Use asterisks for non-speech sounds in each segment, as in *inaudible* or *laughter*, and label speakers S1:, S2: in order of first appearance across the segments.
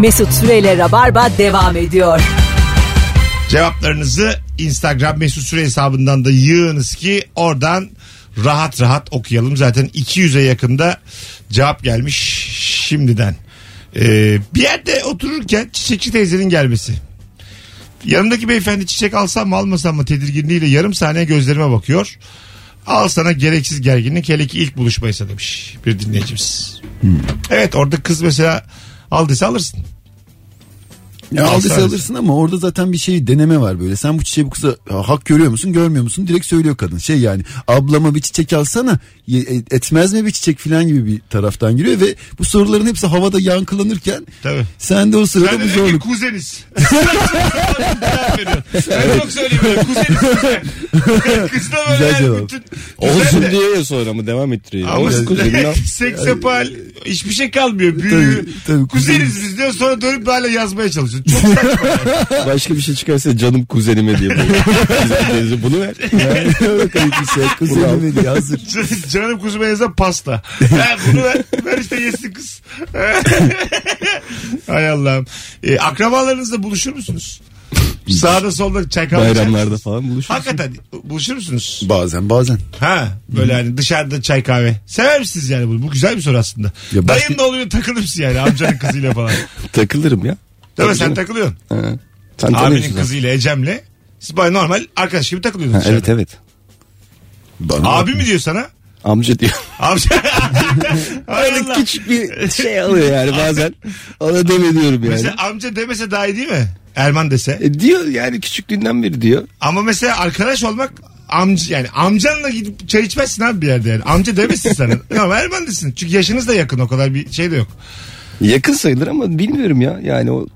S1: Mesut Süreyle Rabarba devam ediyor.
S2: Cevaplarınızı Instagram mesut süre hesabından da yığınız ki oradan rahat rahat okuyalım. Zaten 200'e yakında cevap gelmiş şimdiden. Ee, bir yerde otururken çiçekçi teyzenin gelmesi. Yanımdaki beyefendi çiçek alsam mı almasam mı tedirginliğiyle yarım saniye gözlerime bakıyor. Al sana gereksiz gerginlik hele ki ilk buluşmaysa demiş bir dinleyicimiz. Evet orada kız mesela aldıysa alırsın.
S3: Ya aldıysa
S2: Alsana.
S3: alırsın ama orada zaten bir şey deneme var böyle. Sen bu çiçeği bu kıza "Ha, hak görüyor musun görmüyor musun direkt söylüyor kadın. Şey yani ablama bir çiçek alsana ye- e- etmez mi bir çiçek falan gibi bir taraftan giriyor ve bu soruların hepsi havada yankılanırken
S2: Tabii.
S3: sen de o sırada
S2: Ben
S3: bu
S2: de dedim ki
S3: zorluk. *laughs*
S2: kuzeniz. Cevap veriyor. Ben çok söyleyeyim böyle kuzeniz
S3: *laughs*
S2: kuzen. Kız da böyle
S3: Güzel
S2: yani
S3: cevap.
S2: bütün.
S4: Olsun
S2: Kuzen de-
S4: diyor ya sonra mı devam ettiriyor.
S2: Ama
S4: Olsun kuzenim al.
S2: *laughs* seksapal hiçbir şey kalmıyor. Büyüğü.
S3: Tabii, tabii,
S2: kuzeniz
S3: kuzeniz.
S2: biz diyor sonra dönüp hala yazmaya çalışıyor.
S3: *laughs*
S2: Çok saçma.
S4: *laughs* Başka bir şey çıkarsa canım kuzenime diye. böyle. Kuzeninize bunu ver.
S3: Yok, hayır, bir şey, kuzenime diye hazır.
S2: Canım kuzuma yazan pasta. Ha, bunu ver, ver işte yesin kız. *laughs* Hay Allah'ım. Ee, akrabalarınızla buluşur
S3: *laughs*
S2: musunuz? Sağda solda çay kahve içer
S4: Bayramlarda
S2: misiniz?
S4: falan buluşuruz.
S2: Hakikaten buluşur musunuz?
S3: Bazen bazen.
S2: Ha böyle hani dışarıda çay kahve. Sever misiniz yani bunu? Bu güzel bir soru aslında.
S3: Ya başka-
S2: Dayın da oluyor takılırsın yani amcanın kızıyla
S4: *laughs*
S2: falan.
S4: Takılırım ya.
S2: Değil mi?
S4: Tabii
S2: Sen
S4: canım.
S2: takılıyorsun.
S4: Ha. Sen tanıyorsun
S2: Abinin
S4: zaten.
S2: kızıyla Ecem'le. Siz baya normal arkadaş gibi
S4: Ha,
S2: takılıyorsunuz dışarıda.
S4: evet evet.
S3: Bana
S2: Abi mi diyor sana?
S4: Amca diyor. *laughs*
S2: Amca. Hay
S4: Böyle
S2: Allah.
S4: küçük bir şey alıyor yani bazen. Ona deme diyorum yani.
S2: Mesela amca demese daha iyi değil mi? Erman dese.
S4: E, diyor yani küçüklüğünden beri diyor.
S2: Ama mesela arkadaş olmak amca yani amcanla gidip çay içmezsin abi bir yerde yani. Amca demesin
S4: *laughs*
S2: sana. Ama Erman desin. Çünkü yaşınız da yakın o kadar bir şey de yok.
S4: Yakın sayılır ama bilmiyorum ya. Yani o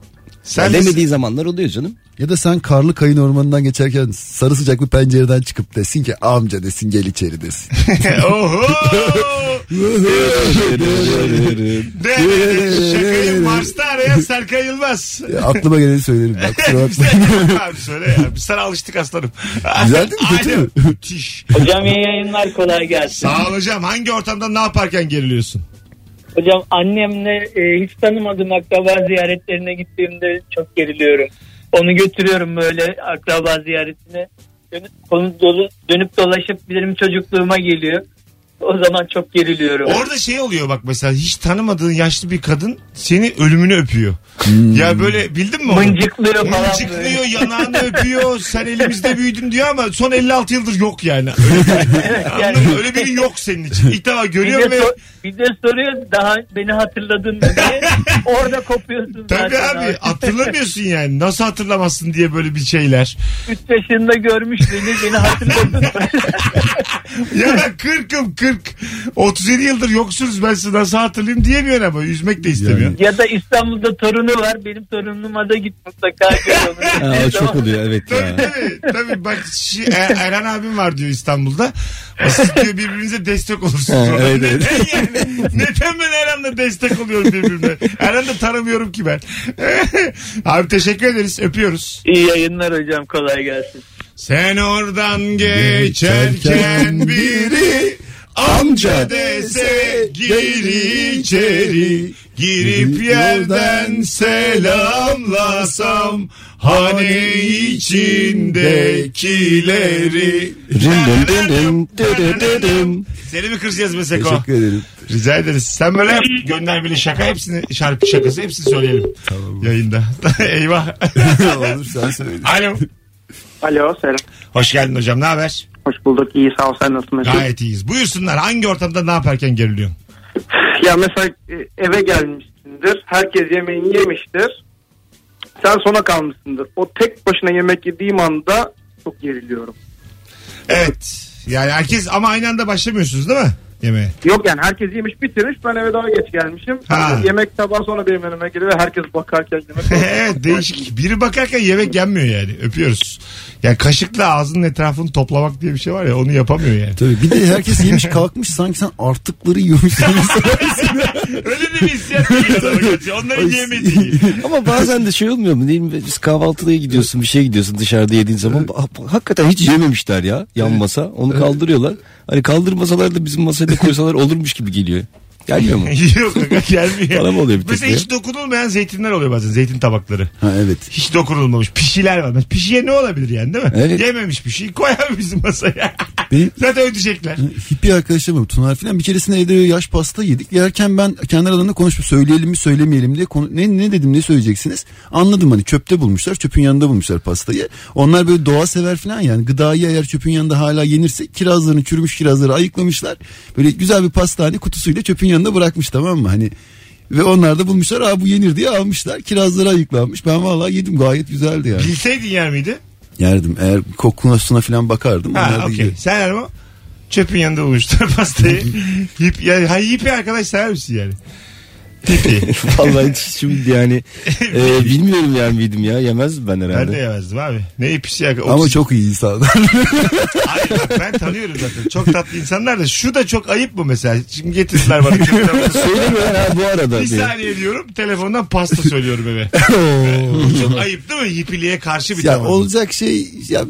S2: Sen
S4: Ya
S2: misin?
S4: demediği zamanlar oluyor canım.
S3: Ya da sen karlı kayın ormanından geçerken sarı sıcak bir pencereden çıkıp desin ki amca desin gel içeri desin.
S2: *laughs*
S4: *laughs*
S2: Oho. De, de, de. Şakayı Mars'ta arayan Serkan Yılmaz.
S3: Ya E, aklıma geleni söylerim bak
S2: *laughs*
S3: kusura bakma.
S2: abi söyle ya. Biz sana alıştık aslanım.
S3: Güzel değil mi? Kötü
S2: Aynen.
S3: mü?
S2: Müthiş.
S5: Hocam iyi yayınlar kolay gelsin.
S2: Sağ ol hocam. Hangi ortamda ne yaparken geriliyorsun?
S5: Hocam annemle e, hiç tanımadığım akraba ziyaretlerine gittiğimde çok geriliyorum. Onu götürüyorum böyle akraba ziyaretine. Dönüp, konu dolu, dönüp dolaşıp benim çocukluğuma geliyor. O zaman çok geriliyorum.
S2: Orada şey oluyor bak mesela hiç tanımadığın yaşlı bir kadın seni ölümünü öpüyor.
S3: Hmm.
S2: Ya böyle bildin mi onu?
S5: Mıncıklıyor falan böyle.
S2: Mıncıklıyor, yanağını öpüyor. Sen elimizde büyüdün diyor ama son 56 yıldır yok yani. Öyle, Anladın mı? Öyle biri yok senin için. İlk defa
S5: Bir
S2: görüyorum
S5: de,
S2: ve
S5: so- bir de soruyor daha beni hatırladın
S2: *laughs*
S5: mı diye. Orada kopuyorsun
S2: Tabii
S5: zaten.
S2: abi hatırlamıyorsun yani. Nasıl hatırlamazsın diye böyle bir şeyler.
S5: 3 yaşında görmüş beni beni hatırladın
S2: *laughs*
S5: mı?
S2: Ya ben kırkım kırk. 37 yıldır yoksunuz ben sizi nasıl hatırlayayım diyemiyor ama üzmek de istemiyor.
S5: ya da İstanbul'da torunu var benim torunuma da git mutlaka.
S2: *laughs*
S5: gör onu.
S4: Aa, çok oluyor evet
S2: Tabii
S4: ya.
S2: tabii. tabii bak şi- E- Erhan abim var diyor İstanbul'da. O Siz diyor birbirinize destek olursunuz.
S4: Ha,
S2: orada.
S4: evet,
S2: neden yani? Neden ben Erhan'la destek oluyorum birbirine? Erhan'ı da tanımıyorum ki ben. *laughs* abi teşekkür ederiz. Öpüyoruz.
S5: İyi yayınlar hocam kolay gelsin.
S2: Sen oradan geçerken biri *laughs* amca dese gir içeri girip yerden selamlasam hane içindekileri
S4: Dım dım
S2: *laughs*
S4: dım dım dı dı dı dım.
S2: seni mi kıracağız be Seko?
S3: Teşekkür ederim.
S2: Rica ederiz. Sen böyle yap. Gönder bile şaka hepsini şarkı şakası hepsini söyleyelim. Yayında. *laughs* Eyvah.
S3: Olur sen söyle.
S2: Alo.
S6: Alo selam.
S2: Hoş geldin hocam. Ne haber?
S6: Hoş bulduk. İyi sağ ol. Sen nasılsın? Mesut?
S2: Gayet iyiyiz. Buyursunlar hangi ortamda ne yaparken geriliyorsun?
S6: Ya mesela e, eve gelmişsindir. Herkes yemeğini yemiştir. Sen sona kalmışsındır. O tek başına yemek yediğim anda çok geriliyorum.
S2: Evet. Yani herkes ama aynı anda başlamıyorsunuz değil mi? Yemeğe.
S6: Yok yani herkes yemiş bitirmiş. Ben eve daha geç gelmişim.
S2: Ha.
S6: Yemek tabağı sonra benim önüme geliyor ve herkes bakarken
S2: *laughs*
S6: yemek.
S2: *laughs* evet değişik. Biri bakarken yemek yenmiyor yani. Öpüyoruz. Yani kaşıkla ağzının etrafını toplamak diye bir şey var ya onu yapamıyor yani.
S3: Tabii bir de herkes *laughs* yemiş kalkmış sanki sen artıkları yiyormuşsun.
S2: *laughs* Öyle de bir hissiyat değil adamın gerçi. Onların yemediği.
S4: Ama bazen de şey olmuyor mu değil mi? Biz kahvaltıya gidiyorsun bir şeye gidiyorsun dışarıda yediğin zaman Ha- hakikaten hiç yememişler ya yan masa onu kaldırıyorlar. Hani kaldırmasalar da bizim masaya da koysalar olurmuş gibi geliyor.
S3: *laughs*
S4: Gelmiyor mu?
S2: *laughs* Yok kanka gelmiyor.
S4: Bana mı oluyor bir
S2: Mesela
S4: tek
S2: hiç dokunulmayan zeytinler oluyor bazen. Zeytin tabakları.
S3: *laughs* Ha evet.
S2: Hiç dokunulmamış. Pişiler var. Mesela Pişiye ne olabilir yani değil mi?
S4: Evet.
S2: Yememiş pişiyi koyar *laughs* bizim masaya.
S3: Benim
S2: Zaten ödeyecekler.
S3: hippie arkadaşım var Tunar filan bir keresinde evde böyle yaş pasta yedik. Yerken ben kendi aralarında konuşup söyleyelim mi söylemeyelim diye konu- ne, ne dedim ne söyleyeceksiniz. Anladım hani çöpte bulmuşlar çöpün yanında bulmuşlar pastayı. Onlar böyle doğa sever filan yani gıdayı eğer çöpün yanında hala yenirse kirazlarını çürümüş kirazları ayıklamışlar. Böyle güzel bir pastane kutusuyla çöpün yanında bırakmış tamam mı hani. Ve onlar da bulmuşlar aa bu yenir diye almışlar. Kirazları ayıklanmış. Ben vallahi yedim gayet güzeldi yani.
S2: Bilseydin yer miydi?
S3: Yerdim eğer kokusuna falan bakardım. onlar
S2: Ha
S3: da
S2: okey.
S3: yiyor.
S2: Sen Ermo çöpün yanında bulmuşlar *laughs* pastayı. Hip, yani, ha, hippie arkadaş sever misin yani?
S3: *laughs*
S2: Hippie.
S4: Vallahi şimdi yani e, bilmiyorum yer miydim ya yemez ben
S2: ben de
S4: herhalde.
S2: yemezdim abi. Ne hippisi arkadaş.
S3: Ama çok iyi
S4: *laughs*
S3: insanlar.
S2: Hayır bak ben tanıyorum zaten. Çok tatlı insanlar da şu da çok ayıp mı mesela? Şimdi getirdiler
S3: *laughs*
S2: bana. çöpten-
S4: Söylemiyor ha bu arada.
S2: Bir
S4: diye.
S2: saniye diyorum telefondan pasta söylüyorum
S3: *laughs*
S2: eve. Bu çok ayıp değil mi? Hipiliğe karşı bir
S3: ya
S2: tavır.
S3: olacak şey ya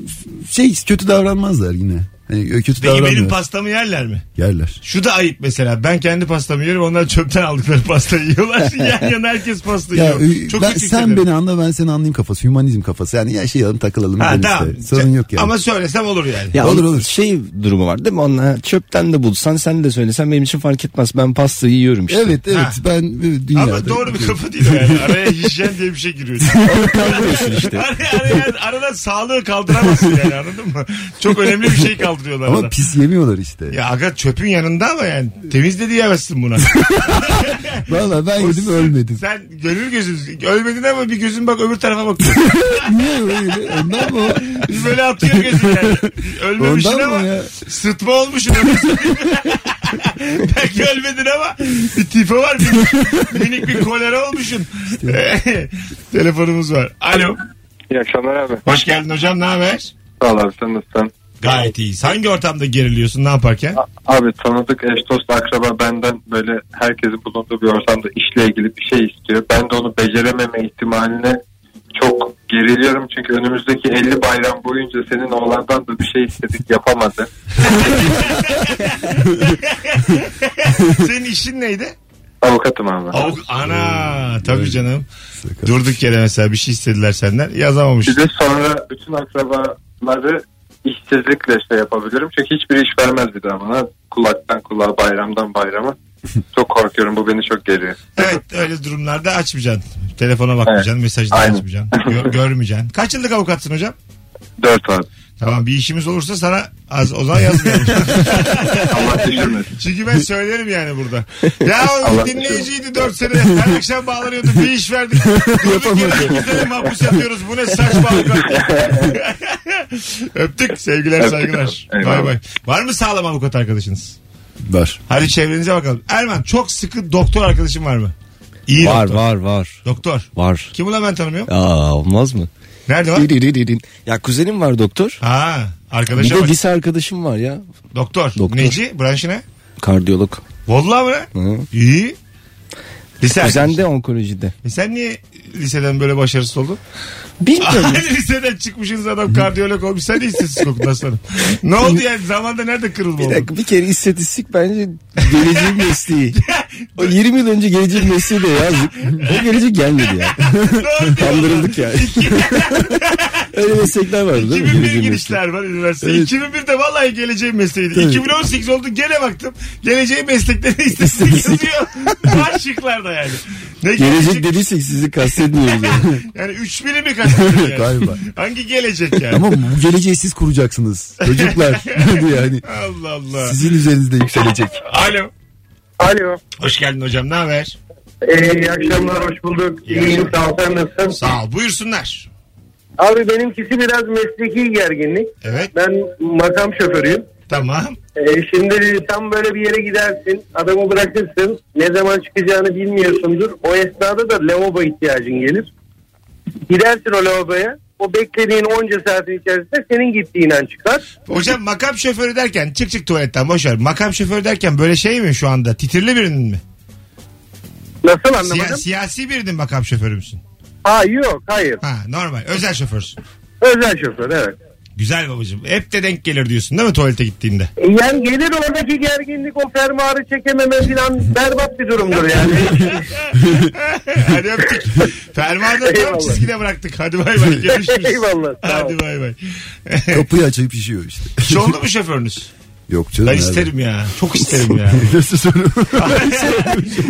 S3: şey kötü davranmazlar yine. Hani kötü
S2: Peki benim
S3: davranmıyor.
S2: pastamı yerler mi?
S3: Yerler.
S2: Şu da ayıp mesela. Ben kendi pastamı yiyorum. Onlar çöpten aldıkları pastayı
S3: *laughs*
S2: yiyorlar. Yan yana herkes pasta
S3: Ya
S2: yiyor. Çok
S3: ben,
S2: kötü
S3: sen
S2: hissederim.
S3: beni anla ben seni anlayayım kafası. Hümanizm kafası. Yani ya şey alalım takılalım.
S2: Ha,
S3: gidelim
S2: tamam. Şey,
S3: işte. Sorun yok yani.
S2: Ama söylesem olur yani.
S4: Ya
S3: Olur,
S4: onun
S3: olur.
S4: Şey durumu var değil mi? Onlar çöpten de bulsan sen de söylesen benim için fark etmez. Ben pastayı yiyorum işte.
S3: Evet evet
S2: Ha.
S3: ben e, dünyada.
S2: Ama doğru bir kafa değil o
S3: *laughs*
S2: yani. Araya hijyen diye bir şey giriyor.
S4: Kaldırıyorsun işte.
S2: araya, araya, aradan sağlığı kaldıramazsın yani anladın mı? Çok önemli bir şey kaldırıyorlar
S3: Ama
S2: arada.
S3: pis yemiyorlar işte.
S2: Ya aga çöpün yanında ama yani temiz de diyemezsin buna.
S3: Valla ben yedim
S2: *laughs*
S3: ölmedim.
S2: Sen gönül gözün ölmedin ama bir gözün bak öbür tarafa bakıyor.
S3: Niye öyle? Ondan mı? o?
S2: Bir böyle atıyor gözün yani. Ölmemişsin
S3: Ondan mı
S2: ama
S3: ya?
S2: sıtma olmuşsun. *laughs* Belki ölmedin ama bir tipi var. Bir, minik bir kolera olmuşsun. *laughs* Telefonumuz var. Alo.
S6: İyi akşamlar abi.
S2: Hoş geldin hocam ne haber?
S6: Sağ ol abi sen nasılsın?
S2: Gayet iyi. Hangi ortamda geriliyorsun ne yaparken?
S6: Abi tanıdık eş dost akraba benden böyle herkesin bulunduğu bir ortamda işle ilgili bir şey istiyor. Ben de onu becerememe ihtimaline çok geriliyorum. Çünkü önümüzdeki 50 bayram boyunca senin oğlandan da bir şey istedik yapamadı.
S2: *laughs* Senin işin neydi?
S6: Avukatım abi.
S2: Avuk- Ana tabii canım.
S3: Sakın.
S2: Durduk yere mesela bir şey istediler senden yazamamış.
S6: Bir de sonra bütün akrabaları işsizlikle şey yapabilirim. Çünkü hiçbir iş vermez bir daha bana. Kulaktan kulağa bayramdan bayrama. çok korkuyorum bu beni çok geriyor.
S2: Evet öyle durumlarda açmayacaksın. Telefona bakmayacaksın,
S6: Evet.
S2: mesajları
S6: Aynen.
S2: açmayacaksın, gör- görmeyeceksin. Kaç yıllık avukatsın hocam?
S6: Dört abi.
S2: Tamam bir işimiz olursa sana az o zaman yazmayalım.
S6: *laughs* Allah düşürmesin.
S2: Çünkü ben söylerim yani burada. Ya o
S6: *laughs* Allah
S2: dinleyiciydi 4 sene her akşam bağlanıyordu bir iş
S6: *laughs*
S2: verdik. Durduk yere ikizlere mahpus yapıyoruz. Bu ne saçma
S6: *laughs*
S2: avukat. Öptük sevgiler
S6: Öptük.
S2: saygılar. Bay
S6: Eyvallah.
S2: bay. Var mı sağlam avukat arkadaşınız?
S3: Var.
S2: Hadi çevrenize bakalım. Erman çok sıkı doktor arkadaşın var mı? İyi
S4: Var
S2: doktor.
S4: var var.
S2: Doktor.
S4: Var.
S2: Kim ulan ben tanımıyorum?
S4: Aa olmaz mı?
S2: Nerede var?
S4: Ya kuzenim var doktor.
S2: Ha
S4: Bir
S2: arkadaşa
S4: de
S2: bak.
S4: lise arkadaşım var ya.
S2: Doktor.
S4: Doktor.
S2: Neci? Branşı ne?
S4: Kardiyolog.
S2: Vallahi mı? ne?
S4: Hı.
S2: İyi. Lise
S4: Kuzen
S2: arkadaşı.
S4: de onkolojide.
S2: E sen niye liseden böyle başarısız
S4: *laughs*
S2: oldun? *laughs*
S4: Bilmiyorum.
S2: Hani liseden çıkmışsınız adam kardiyolog olmuş. Sen de istatistik okudun aslanım. Ne oldu yani? Zamanda nerede kırılma
S4: *laughs* bir
S2: oldu?
S4: dakika bir kere istatistik bence geleceğin mesleği. O 20 yıl önce geleceğin mesleği de yazdık. O gelecek gelmedi ya.
S2: Doğru diyor.
S4: Kandırıldık yani. Öyle meslekler vardı değil mi?
S2: 2001
S4: Geleceğin mesleği.
S2: girişler var üniversite.
S3: Evet.
S2: 2001'de vallahi geleceğim mesleğiydi.
S3: Tabii.
S2: 2018 oldu gene baktım. Geleceğin
S4: *laughs*
S2: meslekleri istatistik yazıyor. Var şıklarda yani. Ne
S4: Gelecek dediysek sizi
S2: şey.
S4: kastetmiyoruz yani.
S2: Yani 3 birimi kastediyor yani.
S3: *laughs* Galiba.
S2: Hangi gelecek yani?
S3: Ama bu geleceği siz kuracaksınız.
S2: *laughs*
S3: Çocuklar. yani
S2: Allah Allah.
S3: sizin
S2: *laughs*
S3: üzerinizde yükselecek.
S2: Alo.
S6: Alo.
S2: Hoş geldin hocam. Ne haber?
S6: Ee, iyi akşamlar hoş bulduk.
S2: İyiyim,
S6: sağ ol sen nasılsın?
S2: Sağ ol. Buyursunlar.
S6: Abi benimkisi biraz mesleki gerginlik.
S2: Evet.
S6: Ben makam şoförüyüm.
S2: Tamam.
S6: Ee, şimdi tam böyle bir yere gidersin, adamı bırakırsın, ne zaman çıkacağını bilmiyorsundur. O esnada da lavabo ihtiyacın gelir. Gidersin o lavaboya, o beklediğin onca saatin içerisinde senin gittiğin an çıkar.
S2: Hocam makam şoförü derken çık çık tuvaletten boş ver. Makam şoförü derken böyle şey mi şu anda? Titirli birinin mi?
S6: Nasıl
S2: Siya-
S6: anlamadım?
S2: siyasi birinin makam şoförü müsün?
S6: Ha yok, hayır.
S2: Ha normal. Özel şoförsün.
S6: Özel şoför, evet.
S2: Güzel babacığım. Hep de denk gelir diyorsun değil mi
S7: *laughs*
S2: tuvalete gittiğinde?
S7: Yani gelir oradaki gerginlik o fermuarı çekememe filan berbat bir durumdur yani.
S2: Hadi öptük. Fermanı tam
S7: Eyvallah.
S2: çizgide bıraktık. Hadi
S7: *laughs*
S2: bay bay. Görüşürüz.
S7: Eyvallah, sağ ol.
S2: Hadi bay bay.
S3: Kapıyı açıp işiyor işte.
S2: Hiç oldu mu şoförünüz?
S3: Yok canım.
S2: Ben
S3: nerede?
S2: isterim ya. Çok isterim ya.
S3: *laughs* Nasıl soru?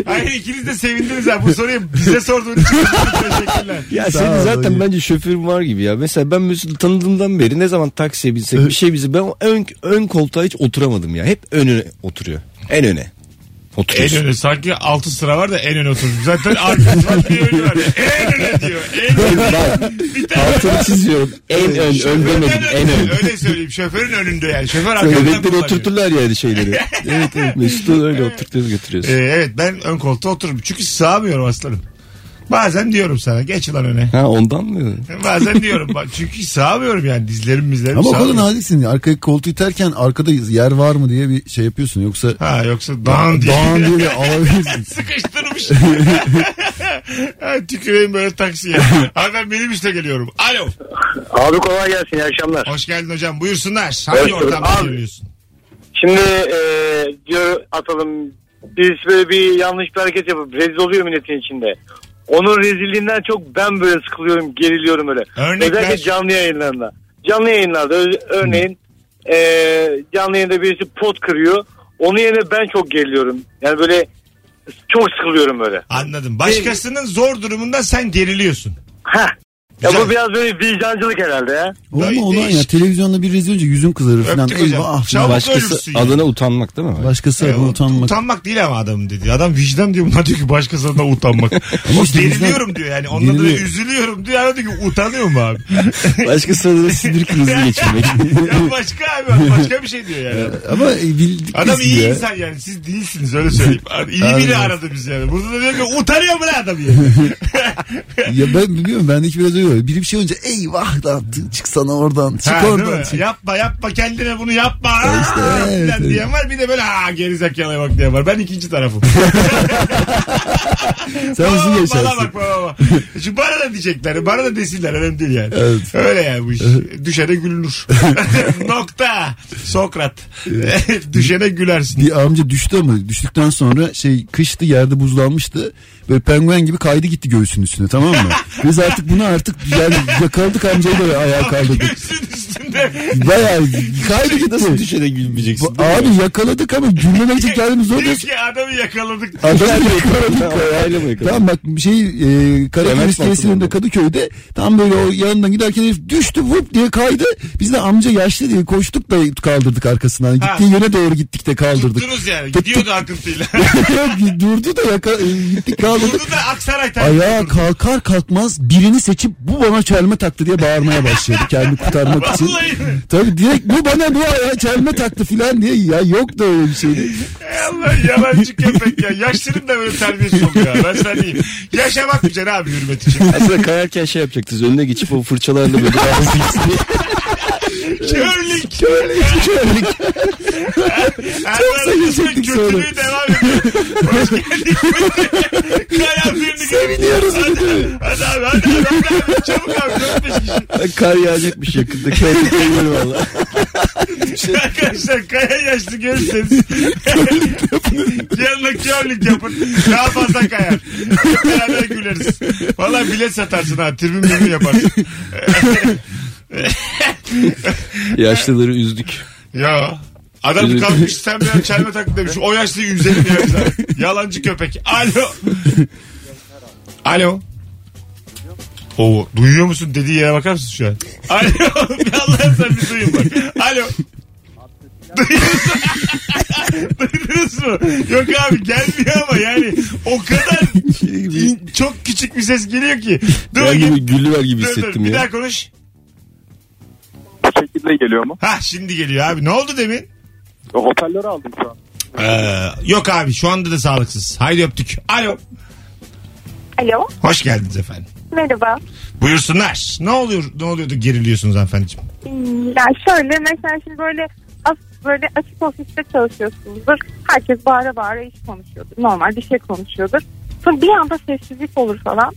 S2: Hayır ikiniz de sevindiniz ha. Bu soruyu bize sorduğunuz için teşekkürler.
S4: Ya
S3: Sağ
S4: senin
S3: ol,
S4: zaten
S3: iyi.
S4: bence şoförün var gibi ya. Mesela ben Mesut'u tanıdığımdan beri ne zaman taksiye binsek bir şey bizi ben ön, ön koltuğa hiç oturamadım ya. Hep önüne oturuyor. En öne.
S2: En
S4: Oturuyorsun.
S2: öne sanki 6 sıra var da en öne oturmuş. Zaten arkası var bir önü var. En öne diyor. En öne. Bir tane
S4: Altını çiziyorum. En ön, ön
S2: Şoförden
S4: demedim. En
S2: önde.
S4: ön.
S2: Öyle söyleyeyim. Şoförün önünde yani. Şoför arkadan
S4: Göbekleri
S2: kullanıyor.
S4: oturturlar
S2: *laughs*
S4: yani şeyleri. evet evet Mesut'u öyle oturtuyoruz götürüyoruz.
S2: Ee, evet ben ön koltuğa otururum. Çünkü sığamıyorum aslanım. Bazen diyorum sana geç lan öne.
S4: Ha ondan mı?
S2: Bazen diyorum bak çünkü sığamıyorum yani dizlerim dizlerim
S3: Ama o kadar
S2: sığamıyorum.
S3: naziksin. Arkaya koltuğu iterken arkada yer var mı diye bir şey yapıyorsun. Yoksa
S2: Ha yoksa dağın diye.
S3: dağın
S2: *laughs*
S3: diye de alabilirsin.
S2: Sıkıştırmış. *laughs* ha, tüküreyim böyle taksiye. Abi ben minibüsle geliyorum. Alo.
S7: Abi kolay gelsin iyi akşamlar.
S2: Hoş geldin hocam. Buyursunlar. Hangi
S7: Hoş bulduk.
S2: ortamda
S7: Abi.
S2: geliyorsun?
S7: Şimdi e, diyor atalım biz böyle bir yanlış bir hareket yapıp rezil oluyor milletin içinde. Onun rezilliğinden çok ben böyle sıkılıyorum, geriliyorum öyle.
S2: Örnek ver.
S7: Özellikle canlı yayınlarında. Canlı yayınlarda ö- örneğin e, canlı yayında birisi pot kırıyor. Onun yerine ben çok geriliyorum. Yani böyle çok sıkılıyorum böyle.
S2: Anladım. Başkasının zor durumunda sen geriliyorsun.
S7: Heh. Ya
S2: Güzel.
S7: bu biraz böyle vicdancılık herhalde ya.
S3: Olma olan ya
S2: Değişik.
S3: televizyonda bir rezil olunca yüzüm kızarır falan.
S2: Öptük hocam.
S3: Eyvah
S2: Çabuk
S3: falan.
S2: ölürsün
S4: Başkası
S2: yani.
S4: adına utanmak değil mi?
S3: Başkası
S2: Ya,
S3: adına
S2: ut-
S3: utanmak.
S2: Ee, utanmak değil ama adamın dediği. Adam vicdan diyor. Buna diyor ki başkasına
S3: *laughs*
S2: utanmak. o
S3: işte bizden-
S2: geriliyorum diyor yani. Ondan da
S3: Geriliyor.
S2: üzülüyorum diyor. Adam diyor ki utanıyor mu abi?
S4: Başkası adına sinir krizi
S2: *laughs*
S4: geçirmek.
S3: *laughs*
S2: ya başka abi. Başka bir şey diyor yani.
S3: Ama e, bildik
S2: Adam
S3: biz
S2: iyi
S3: ya.
S2: insan yani siz değilsiniz öyle
S3: *laughs*
S2: söyleyeyim. Abi, iyi biri
S3: Aynen.
S2: aradı bizi yani. Burada da diyor ki utanıyor mu lan adam yani.
S3: *laughs* Ya ben biliyorum bendeki biraz öyle. Biri bir şey önce eyvah da çıksana oradan. Çık
S2: Ha, değil
S3: oradan.
S2: mi?
S3: Çık.
S2: Yapma yapma kendine bunu yapma. Aa, falan
S3: evet, evet.
S2: diyen var bir de böyle aa gerizekalıya bak diyen var. Ben ikinci tarafım.
S3: *laughs* Sen
S2: Baba,
S3: uzun
S2: Bana
S3: yaşarsın.
S2: bak bana
S3: *laughs*
S2: bak. Şu bana da diyecekler. Bana da desinler. Önemli değil yani.
S3: Evet.
S2: Öyle yani bu iş. Düşene
S3: *laughs*
S2: gülünür. *laughs* Nokta. Sokrat. *laughs* Düşene gülersin.
S3: Bir amca düştü ama düştükten sonra şey kıştı yerde buzlanmıştı. Böyle penguen gibi kaydı gitti göğsünün üstüne tamam
S2: *laughs*
S3: mı? Biz artık bunu artık yani yakaladık amcayı da
S2: *laughs*
S3: ayağa kaldırdık.
S2: Göğsün üstünde.
S3: Bayağı kaydı
S2: Şey,
S4: Nasıl
S3: gitti.
S4: düşene gülmeyeceksin?
S3: Bu- Abi yakaladık ama gülmemek için kendimiz zor
S2: Diyor
S3: diyorsun.
S2: ki adamı yakaladık.
S3: Adamı yakaladık.
S4: Aile mi yakaladın?
S3: Tamam bak şey e,
S4: Clement
S3: Karadeniz tesisinin önünde
S4: Batman'da.
S3: Kadıköy'de tam böyle o yanından giderken herif düştü vup diye kaydı. Biz de amca yaşlı diye koştuk da kaldırdık arkasından.
S2: Ha.
S3: Gittiği yöne doğru gittik
S2: *laughs*
S3: de kaldırdık.
S2: Tuttunuz yani. Gidiyordu akıntıyla.
S3: *laughs* Yok, Durdu da yaka, e, gittik
S2: *laughs*
S3: kaldırdık.
S2: Durdu da Aksaray tarafı.
S3: Ayağa kalkar kalkmaz birini seçip bu bana çelme taktı diye bağırmaya başladı
S2: *laughs*
S3: kendini kurtarmak için.
S2: Vallahi mi?
S3: Tabii direkt bu bana bu ayağa çelme taktı filan diye ya yok da öyle bir
S2: *laughs*
S3: şey.
S2: Ey Allah yalancı köpek ya. Yaşlının da böyle terbiyesiz oluyor. ya. Ben sana diyeyim. Yaşa bakmayacaksın abi hürmet için.
S4: Aslında kayarken şey yapacaktınız. Önüne geçip o fırçalarla böyle *laughs* bazı gitsin diye.
S2: Körlük.
S3: Şöyle
S2: Çok
S3: sevinecektik sonra.
S2: Kötülüğü devam ediyor. Hoş geldik. Kayan birini
S3: Seviniyoruz bir de.
S2: Hadi abi hadi abi. hadi abi. Çabuk abi. 4-5 kişi.
S4: Kar yağacakmış *laughs* yakında. Kayıp kayıyor valla.
S3: Şey-
S2: Arkadaşlar kaya yaşlı görürseniz. Yanına körlük yapın. Daha fazla kayar. Hep Beraber güleriz. Valla bilet satarsın ha. Tribün bölümü yaparsın.
S4: Yaşlıları üzdük.
S2: Ya. Adam
S4: Üzüldüm.
S2: kalkmış sen bir çelme taktı demiş. O yaşlıyı üzerim ya. biz abi.
S4: *laughs*
S2: Yalancı köpek. Alo. Alo. Oo, duyuyor musun dediği yere bakar mısın şu an? Alo. *laughs* Bir Allah'ın sen bir duyun bak. Alo. Duyuyorsun. Duydunuz mu? *laughs* Yok abi gelmiyor ama yani o kadar in- çok küçük bir ses geliyor ki. Dur
S4: Şey Ben
S2: bakayım.
S4: gibi güllüver gibi
S2: Dur, dur.
S4: hissettim
S2: Bir daha
S4: ya.
S2: konuş.
S6: Bu şekilde geliyor mu?
S2: Ha şimdi geliyor abi. Ne oldu demin?
S6: Hoparlörü aldım şu an.
S2: Ee, yok abi şu anda da sağlıksız. Haydi öptük. Alo.
S8: Alo.
S2: Hoş geldiniz efendim.
S8: Merhaba.
S2: Buyursunlar. Ne oluyor? Ne oluyordu geriliyorsunuz hanımefendiciğim?
S8: Hmm, Ya şöyle mesela şimdi böyle as- böyle açık ofiste çalışıyorsunuzdur. Herkes bağıra bağıra iş konuşuyordur. Normal bir şey konuşuyordur. Sonra bir anda sessizlik olur falan.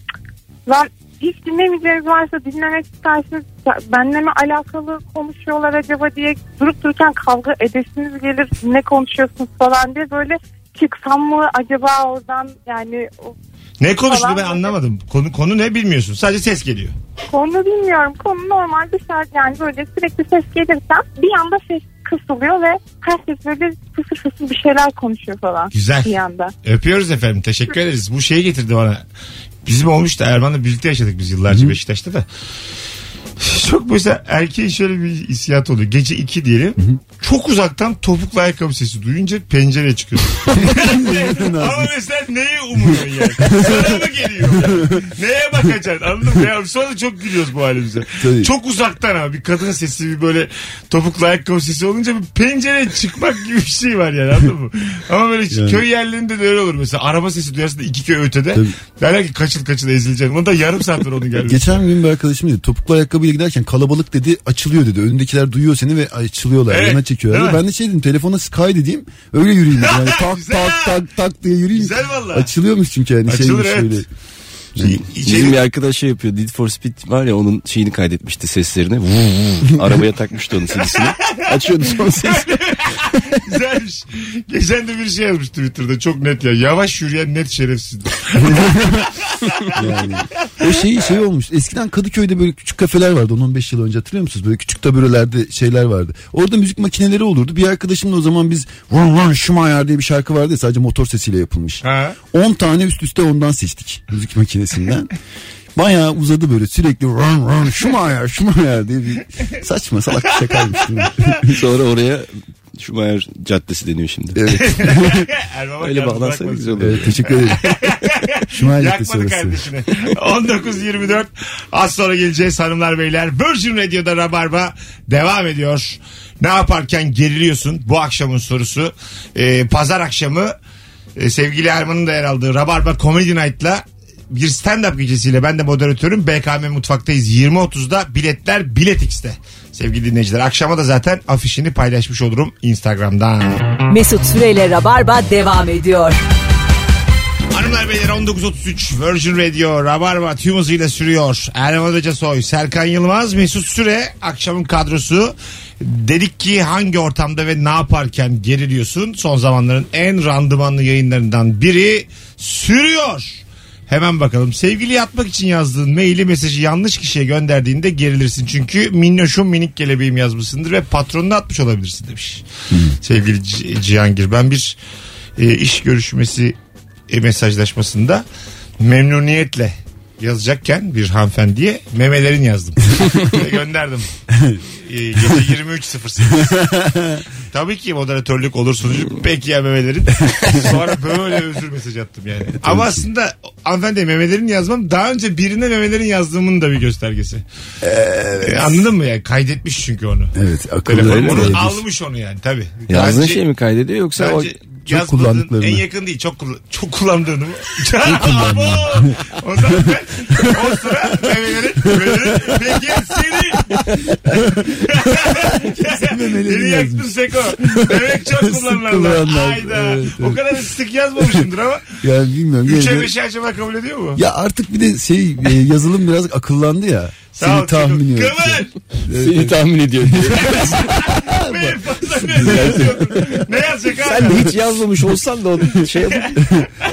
S8: Lan hiç dinlemeyeceğiniz varsa dinlemek isterseniz ya benle mi alakalı konuşuyorlar acaba diye durup dururken kavga edesiniz gelir ne konuşuyorsunuz falan diye böyle çıksam mı acaba oradan yani o
S2: Ne konuştu
S8: Falan
S2: ben
S8: böyle.
S2: anlamadım. Konu konu ne bilmiyorsun. Sadece ses geliyor.
S8: konu bilmiyorum konu normal dışarı yani böyle sürekli ses gelirsen bir anda ses kısılıyor ve herkes böyle fısır fısır bir şeyler konuşuyor falan
S2: Güzel.
S8: bir anda.
S2: Öpüyoruz efendim. Teşekkür ederiz. Bu şeyi getirdi bana. Bizim olmuştu. Erman'la birlikte yaşadık biz yıllarca Beşiktaş'ta da. Çok mesela erkeğin şöyle bir hissiyat oluyor. Gece 2 diyelim. Çok uzaktan topuklu ayakkabı sesi duyunca pencereye çıkıyor. Ama mesela neye umuyorsun yani? Sana mı geliyor? Neye bakacaksın? Anladın mı? Ya sonra çok gülüyoruz bu halimize.
S3: Tabii.
S2: Çok uzaktan ama bir kadın sesi bir böyle topuklu ayakkabı sesi olunca bir pencereye çıkmak gibi bir şey var yani anladın mı? Ama böyle köy yerlerinde de öyle olur mesela. Araba sesi duyarsın da iki köy ötede.
S3: Tabii.
S2: Derler ki kaçıl kaçıl ezileceksin. Onu da yarım saat var onun gelmesi.
S3: Geçen gün bir arkadaşım dedi topuklu ayakkabıyla giderken kalabalık dedi açılıyor dedi. Önündekiler duyuyor seni ve açılıyorlar
S2: Evet,
S3: yana çekiyorlar.
S2: değil mi?
S3: Ben de şey dedim telefona sky dediğim öyle yürüyeyim dedim. Yani
S2: *laughs*
S3: tak
S2: Güzel.
S3: tak tak tak diye yürüyeyim.
S2: Güzel valla.
S3: Açılıyormuş çünkü yani şey
S2: Açılır,
S3: şeymiş
S2: evet.
S3: öyle.
S4: Bizim bir arkadaş şey yapıyor. Need for Speed var ya onun şeyini kaydetmişti seslerini. Vuv, vuv. Arabaya takmıştı onun *laughs* sesini. Açıyordu
S2: *laughs*
S4: son sesi.
S2: Güzelmiş. Geçen de bir şey yazmış Twitter'da çok net ya. Yavaş yürüyen net
S4: *laughs*
S2: şerefsizdir.
S3: Yani. O şey şey olmuş. Eskiden Kadıköy'de böyle küçük kafeler vardı. 10-15 yıl önce hatırlıyor musunuz? Böyle küçük taburelerde şeyler vardı. Orada müzik makineleri olurdu. Bir arkadaşımla o zaman biz Run Run Schumacher diye bir şarkı vardı ya sadece motor sesiyle yapılmış.
S2: Ha.
S3: 10 tane üst üste ondan seçtik müzik makinesinden. Bayağı uzadı böyle sürekli run run Schumacher Schumacher diye bir saçma salak bir şakaymış. değil mi?
S4: Sonra oraya Şumayer Caddesi deniyor şimdi.
S3: evet, *laughs*
S2: Erman
S4: Öyle bağlansa güzel olur.
S3: evet teşekkür ederim. Schumacher Caddesi
S2: Yakmadı
S3: orası.
S2: kardeşini. *laughs* 19.24 az sonra geleceğiz hanımlar beyler. Virgin Radio'da Rabarba devam ediyor. Ne yaparken geriliyorsun? Bu akşamın sorusu. Ee, Pazar akşamı e, sevgili Erman'ın da yer aldığı Rabarba Comedy Night'la bir stand-up gecesiyle ben de moderatörüm. BKM Mutfak'tayız 20.30'da. Biletler Bilet X'te. Sevgili dinleyiciler akşama da zaten afişini paylaşmış olurum Instagram'dan.
S1: Mesut Süreyle Rabarba devam ediyor.
S2: Hanımlar beyler 19.33 Virgin Radio Rabarba tüm hızıyla sürüyor. Erman Hoca Soy, Serkan Yılmaz, Mesut Süre akşamın kadrosu. Dedik ki hangi ortamda ve ne yaparken geriliyorsun? Son zamanların en randımanlı yayınlarından biri sürüyor. Hemen bakalım. Sevgili yatmak için yazdığın maili mesajı yanlış kişiye gönderdiğinde gerilirsin. Çünkü minnoşum minik kelebeğim yazmışsındır ve patronunu atmış olabilirsin demiş. Sevgili Ci- Cihangir ben bir e, iş görüşmesi e, mesajlaşmasında memnuniyetle yazacakken bir hanımefendiye memelerin yazdım. Ve gönderdim. E, Gece 23.08. Tabii ki moderatörlük olur sunucu. Peki ya
S4: *laughs*
S2: memelerin. Sonra böyle özür mesajı attım yani. Ama aslında hanımefendiye memelerin yazmam daha önce birine memelerin yazdığımın da bir göstergesi. E, anladın mı yani? Kaydetmiş çünkü onu.
S3: Evet akıllı.
S2: Telefon
S4: öyle
S2: onu
S3: Evet.
S2: almış onu yani tabii.
S4: Yazdığın
S2: Bence-
S4: şey mi kaydediyor yoksa o...
S2: Bence
S3: çok
S2: yazmadığın
S3: kullandıklarını.
S2: En yakın değil çok, kullan çok kullandığını mı? Çok kullandığını. *laughs* o zaman ben o sıra memelerin memelerin peki seni
S3: memelerin
S2: Beni yaktın
S3: yazmış.
S2: Seko. Demek çok
S3: Sık
S2: kullanılanlar.
S3: kullanılanlar.
S2: Hayda.
S3: Evet,
S2: O kadar sık yazmamışımdır ama
S3: Yani bilmiyorum. yine de-
S2: 3'e 5'e acaba kabul ediyor mu?
S3: Ya artık bir de şey e, yazılım biraz akıllandı ya.
S2: Sağ ol,
S3: Seni tahmin
S2: Seko.
S3: ediyor.
S2: Kıvır.
S4: Seni tahmin ediyor.
S2: Benim fazla ne yazıyordun? Ne yazacak
S4: Sen
S2: hala?
S4: de hiç yazmamış olsan
S3: *laughs*
S4: da onu şey yap-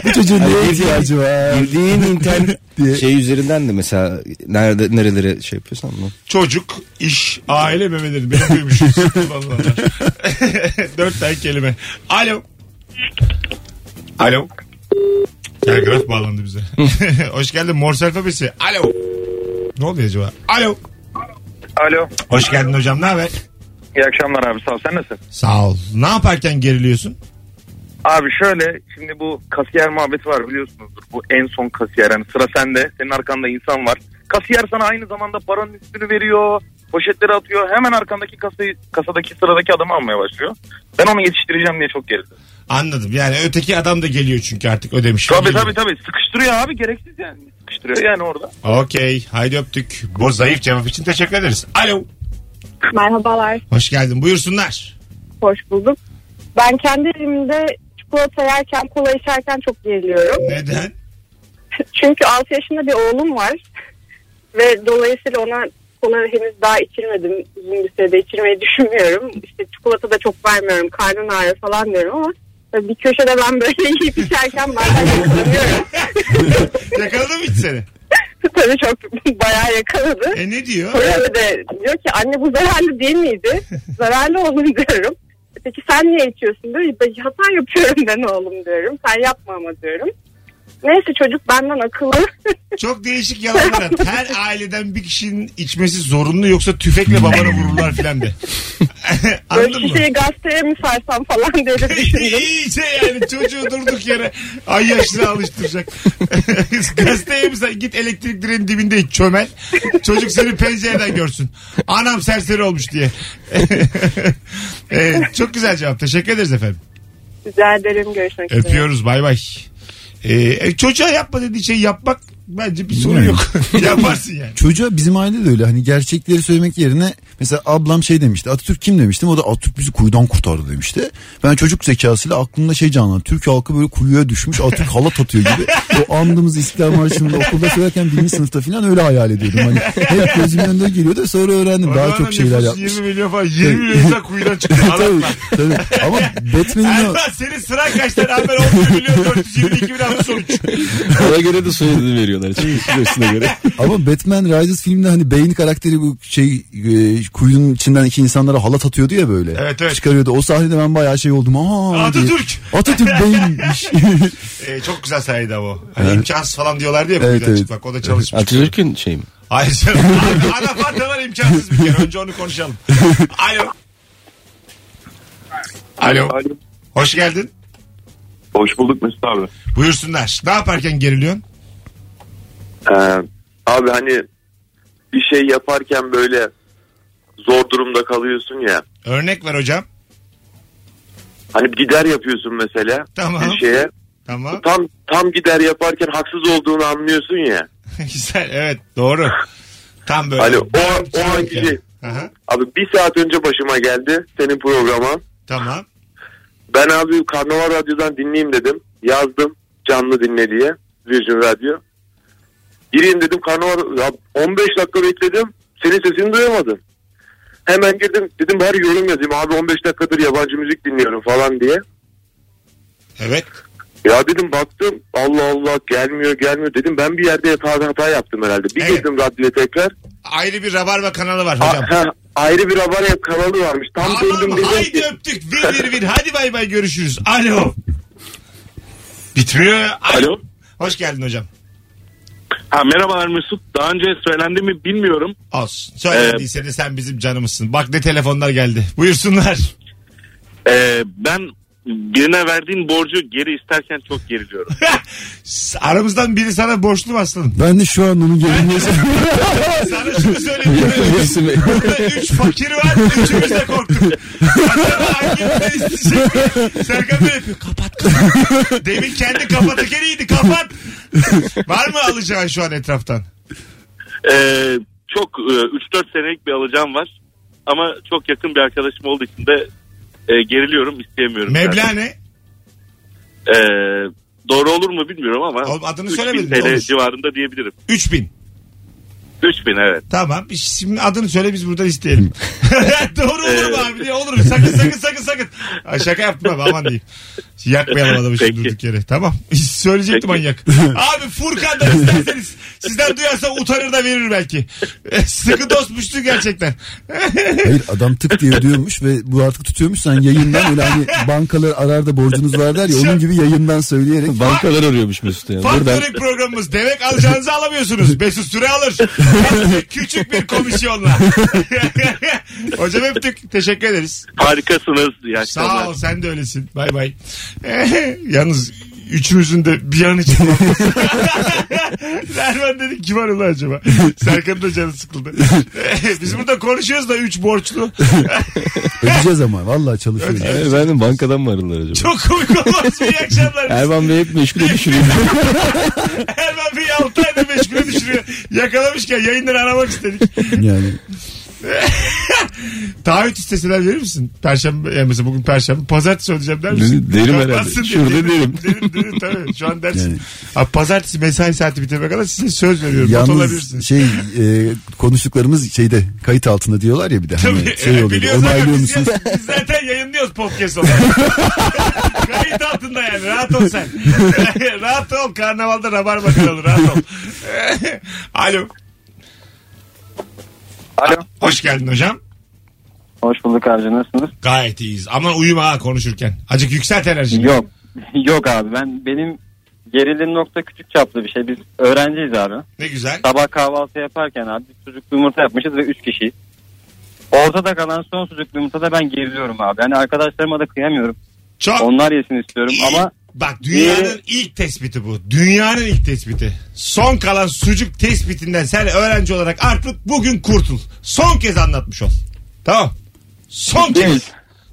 S3: Bu çocuğun neye ihtiyacı var?
S4: Girdiğin internet
S3: Diye.
S4: şey üzerinden de mesela nerede nerelere şey yapıyorsan mı?
S2: Çocuk, iş, aile memeleri. Benim duymuşum. Kullanılanlar. *laughs* Dört tane kelime. Alo. Alo. Telgraf bağlandı bize. *laughs* Hoş geldin Morse alfabesi. Alo. Ne oluyor acaba? Alo.
S9: Alo.
S2: Hoş geldin hocam ne haber?
S9: İyi akşamlar abi sağ ol. Sen nasılsın?
S2: Sağ ol. Ne yaparken geriliyorsun?
S9: Abi şöyle şimdi bu kasiyer muhabbeti var biliyorsunuzdur. Bu en son kasiyer yani sıra sende senin arkanda insan var. Kasiyer sana aynı zamanda paranın üstünü veriyor. Poşetleri atıyor. Hemen arkandaki kasayı, kasadaki sıradaki adamı almaya başlıyor. Ben onu yetiştireceğim diye çok gerildim.
S2: Anladım. Yani öteki adam da geliyor çünkü artık ödemiş.
S9: Tabii tabii tabii sıkıştırıyor abi gereksiz yani. Sıkıştırıyor yani orada.
S2: Okey. Haydi öptük. Bu zayıf cevap için teşekkür ederiz. Alo.
S8: Merhabalar
S2: Hoş geldin. Buyursunlar.
S8: hoş bulduk. Ben kendi evimde çikolata yerken kola içerken çok geriliyorum.
S2: Neden?
S8: Çünkü 6 yaşında bir oğlum var. Ve dolayısıyla ona kola henüz daha içirmedim. Uzun bir sürede içirmeyi düşünmüyorum. İşte çikolata da çok vermiyorum. Karnın ağrıyor falan diyorum ama tabii bir köşede ben böyle *laughs* yiyip içerken bazen yakalanıyorum. *laughs*
S2: Yakaladı mı hiç seni?
S8: tabii çok *laughs* bayağı yakaladı.
S2: E ne diyor?
S8: Sonra bir de diyor ki anne bu zararlı değil miydi? zararlı oğlum diyorum. Peki sen niye içiyorsun diyor. "Ben Hata yapıyorum ben oğlum diyorum. Sen yapma ama diyorum. Neyse çocuk benden akıllı. *laughs*
S2: Çok değişik yalanlar at. Her aileden bir kişinin içmesi zorunlu yoksa tüfekle babana vururlar filan de. *laughs*
S8: Böyle
S2: Anladın mı?
S8: şişeyi gazeteye mi sarsam falan diye de
S2: *laughs*
S8: düşündüm.
S2: İyice yani çocuğu durduk yere ay yaşına alıştıracak. *laughs* Gazeteye mesela git elektrik direğinin dibinde iç, çömel. Çocuk seni pencereden görsün. Anam serseri olmuş diye. *laughs* Ee, çok güzel cevap. Teşekkür ederiz efendim.
S8: Rica ederim görüşmek üzere.
S2: Öpüyoruz bay bay. Ee, çocuğa yapma dediği şey yapmak bence bir sorun yok. *laughs* Yaparsın yani.
S3: Çocuğa bizim aile de öyle hani gerçekleri söylemek yerine mesela ablam şey demişti Atatürk kim demiştim o da Atatürk bizi kuyudan kurtardı demişti. Ben çocuk zekasıyla aklımda şey canlandı Türk halkı böyle kuyuya düşmüş Atatürk halat atıyor gibi. O andımız İstiklal Marşı'nda okulda söylerken birinci sınıfta falan öyle hayal ediyordum. Hani hep gözümün önünde geliyordu sonra öğrendim daha
S2: Adamların
S3: çok şeyler
S2: nüfusu
S3: yapmış. Şey.
S2: 20 milyon falan 20 milyon insan kuyudan
S3: *laughs*
S2: çıktı.
S3: tabii,
S2: Anlatma.
S3: tabii. *laughs* Ama Batman'in o-
S2: Erman senin sıran kaçtan haber 11 milyon 422 bin altı
S3: *laughs*
S2: sonuç.
S4: *laughs* Ona göre de soyadını veriyorlar. Çıkışına göre.
S3: Ama Batman Rises filminde hani Bane karakteri bu şey e, kuyunun içinden iki insanlara halat atıyordu ya böyle.
S2: Evet, evet.
S3: Çıkarıyordu. O sahnede ben bayağı şey oldum. Aa,
S2: Atatürk.
S3: diye. Atatürk Bane'miş.
S2: Ee, çok güzel sayıydı ama. o. Hani imkansız falan diyorlardı ya
S3: Evet,
S2: kuyudan
S3: evet.
S2: çıkmak. O da çalışmış.
S4: Atatürk'ün şey mi?
S2: Hayır canım. Anafartalar imkansız bir kere. Önce onu konuşalım. Alo. Alo. Hoş geldin.
S9: Hoş bulduk Mesut abi.
S2: Buyursunlar. Ne yaparken geriliyorsun?
S9: Ee, abi hani bir şey yaparken böyle zor durumda kalıyorsun ya.
S2: Örnek ver hocam.
S9: Hani gider yapıyorsun mesela
S2: Tamam.
S9: bir şeye.
S2: Tamam. *laughs*
S9: Tam tam gider yaparken haksız olduğunu anlıyorsun ya.
S2: Güzel. Evet. Doğru. Tam böyle.
S9: Alo, o- o an gibi.
S2: Aha,
S9: Abi bir saat önce başıma geldi senin programa.
S2: Tamam.
S9: Ben abi Karnaval Radyo'dan dinleyeyim dedim. Yazdım canlı dinle diye. Virgin Radyo. Gireyim dedim Karnaval ya 15 dakika bekledim. Senin sesini duyamadım. Hemen girdim dedim bari yorum yazayım abi 15 dakikadır yabancı müzik dinliyorum falan diye.
S2: Evet.
S9: Ya dedim baktım Allah Allah gelmiyor gelmiyor dedim ben bir yerde hata, hata yaptım herhalde. Bir
S2: Evet.
S9: girdim radyoya tekrar.
S2: Ayrı bir rabarba kanalı var hocam.
S9: A- ha, ayrı bir Rabarya kanalı varmış. Tam döndüm
S2: Tamam
S9: dedim
S2: haydi
S9: ki-
S2: öptük. Vir vir vir. Hadi bay bay görüşürüz. Alo. Bitmiyor.
S9: Alo.
S2: Hoş geldin hocam.
S9: Ha, merhabalar Mesut. Daha önce söylendi mi bilmiyorum.
S2: Olsun. Söylediyse de sen bizim canımızsın. Bak ne telefonlar geldi. Buyursunlar. *laughs*
S9: Ee, ben birine verdiğin borcu geri isterken çok geriliyorum.
S2: Aramızdan biri sana borçlu mu aslanım?
S3: *laughs* ben de şu an onun gelinmesi.
S2: Sana şunu söyleyeyim. Burada üç fakir var. Üçümüz de korktuk. Acaba hangimizden isteyecek? Serkan Bey yapıyor. Kapat kapat. Demin kendi kapatırken iyiydi. Kapat. var mı alacağın şu an etraftan?
S9: Ee, çok e, 3-4 senelik bir alacağım var. Ama çok yakın bir arkadaşım olduğu için de e, geriliyorum isteyemiyorum.
S2: Meblağ
S9: zaten.
S2: ne?
S9: Ee, doğru olur mu bilmiyorum ama.
S2: Oğlum adını
S9: 3000
S2: söylemedin,
S9: TL
S2: olur.
S9: civarında diyebilirim.
S2: 3000.
S9: 3000 evet.
S2: Tamam. Şimdi adını söyle biz buradan
S9: *laughs*
S2: isteyelim. *laughs* Doğru olur mu
S9: Evet.
S2: abi diye olur mu? Sakın sakın sakın sakın. Ay şaka yaptım abi aman diyeyim. Yakmayalım adamı şimdi
S9: Peki.
S2: durduk yere. Tamam. Söyleyecektim
S9: Peki.
S2: manyak. Abi
S9: *laughs*
S2: Furkan'dan isterseniz sizden duyarsa utanır da verir belki. *laughs* Sıkı dostmuştu gerçekten.
S3: *laughs* Hayır adam tık diye ödüyormuş ve bu artık tutuyormuş. Sen yayından öyle hani bankalar arar da borcunuz var der ya onun gibi yayından *laughs* söyleyerek.
S4: Bankalar arıyormuş Mesut ya. Buradan
S2: Faktörlük programımız. Demek alacağınızı alamıyorsunuz. Mesut Süre alır. Küçük bir
S9: *laughs*
S2: komisyonla. *laughs* Hocam öptük. Teşekkür ederiz.
S9: Harikasınız. İyi akşamlar.
S2: Sağ ol sen de öylesin. Bay bay. *laughs* yalnz üçümüzün de bir an için Derman dedi kim var ulan acaba? Serkan'ın da canı sıkıldı. *laughs* Biz burada konuşuyoruz da üç borçlu.
S3: Ödeyeceğiz ama vallahi çalışıyoruz.
S4: Efendim bankadan mı arıyorlar acaba?
S2: Çok komik olmaz mı? İyi akşamlar.
S4: Erman Bey hep meşgule düşürüyor. *laughs*
S2: Erman Bey 6 ayda meşgule düşürüyor. Yakalamışken yayından aramak istedik.
S3: Yani
S2: Taahhüt isteseler verir misin? Perşembe yani mesela bugün perşembe. Pazartesi ödeyeceğim der misin?
S4: Derim herhalde.
S2: Kapatsın diye.
S4: Şurada derim.
S2: Derim derim tabii. Şu an dersin.
S3: Yani.
S2: Abi pazartesi mesai saati bitirene kadar size söz veriyorum. Not
S3: Yalnız
S2: olabilirsiniz.
S3: şey e, konuştuklarımız şeyde kayıt altında diyorlar ya bir de hani
S2: Tabii,
S3: *laughs* şey
S2: evet, *laughs*
S3: oluyor.
S2: biliyoruz
S3: Onaylıyor
S2: zaten biz
S3: musunuz? *laughs*
S2: ya- *laughs* Biz zaten yayınlıyoruz podcast olarak. *laughs* Kayıt altında yani rahat ol sen. *laughs* rahat ol karnavalda rabarba kralı rahat ol. *laughs* Alo.
S5: Alo.
S2: Hoş geldin hocam.
S5: Hoş bulduk abi nasılsınız?
S2: Gayet iyiyiz ama uyuma ha konuşurken. Acık yükselt enerjini.
S5: Yok. *laughs* Yok abi ben benim gerildiğim nokta küçük çaplı bir şey. Biz öğrenciyiz abi.
S2: Ne güzel.
S5: Sabah kahvaltı yaparken abi biz sucuklu yumurta yapmışız ve 3 kişiyiz. Ortada kalan son sucuklu yumurtada ben geriliyorum abi. Yani arkadaşlarıma da kıyamıyorum.
S2: Çok
S5: Onlar yesin istiyorum *laughs* ama
S2: Bak dünyanın
S5: Ee,
S2: ilk tespiti bu. Dünyanın ilk tespiti. Son kalan sucuk tespitinden sen öğrenci olarak artık bugün kurtul. Son kez anlatmış ol. Tamam. Son
S5: Değil mi?
S2: kez.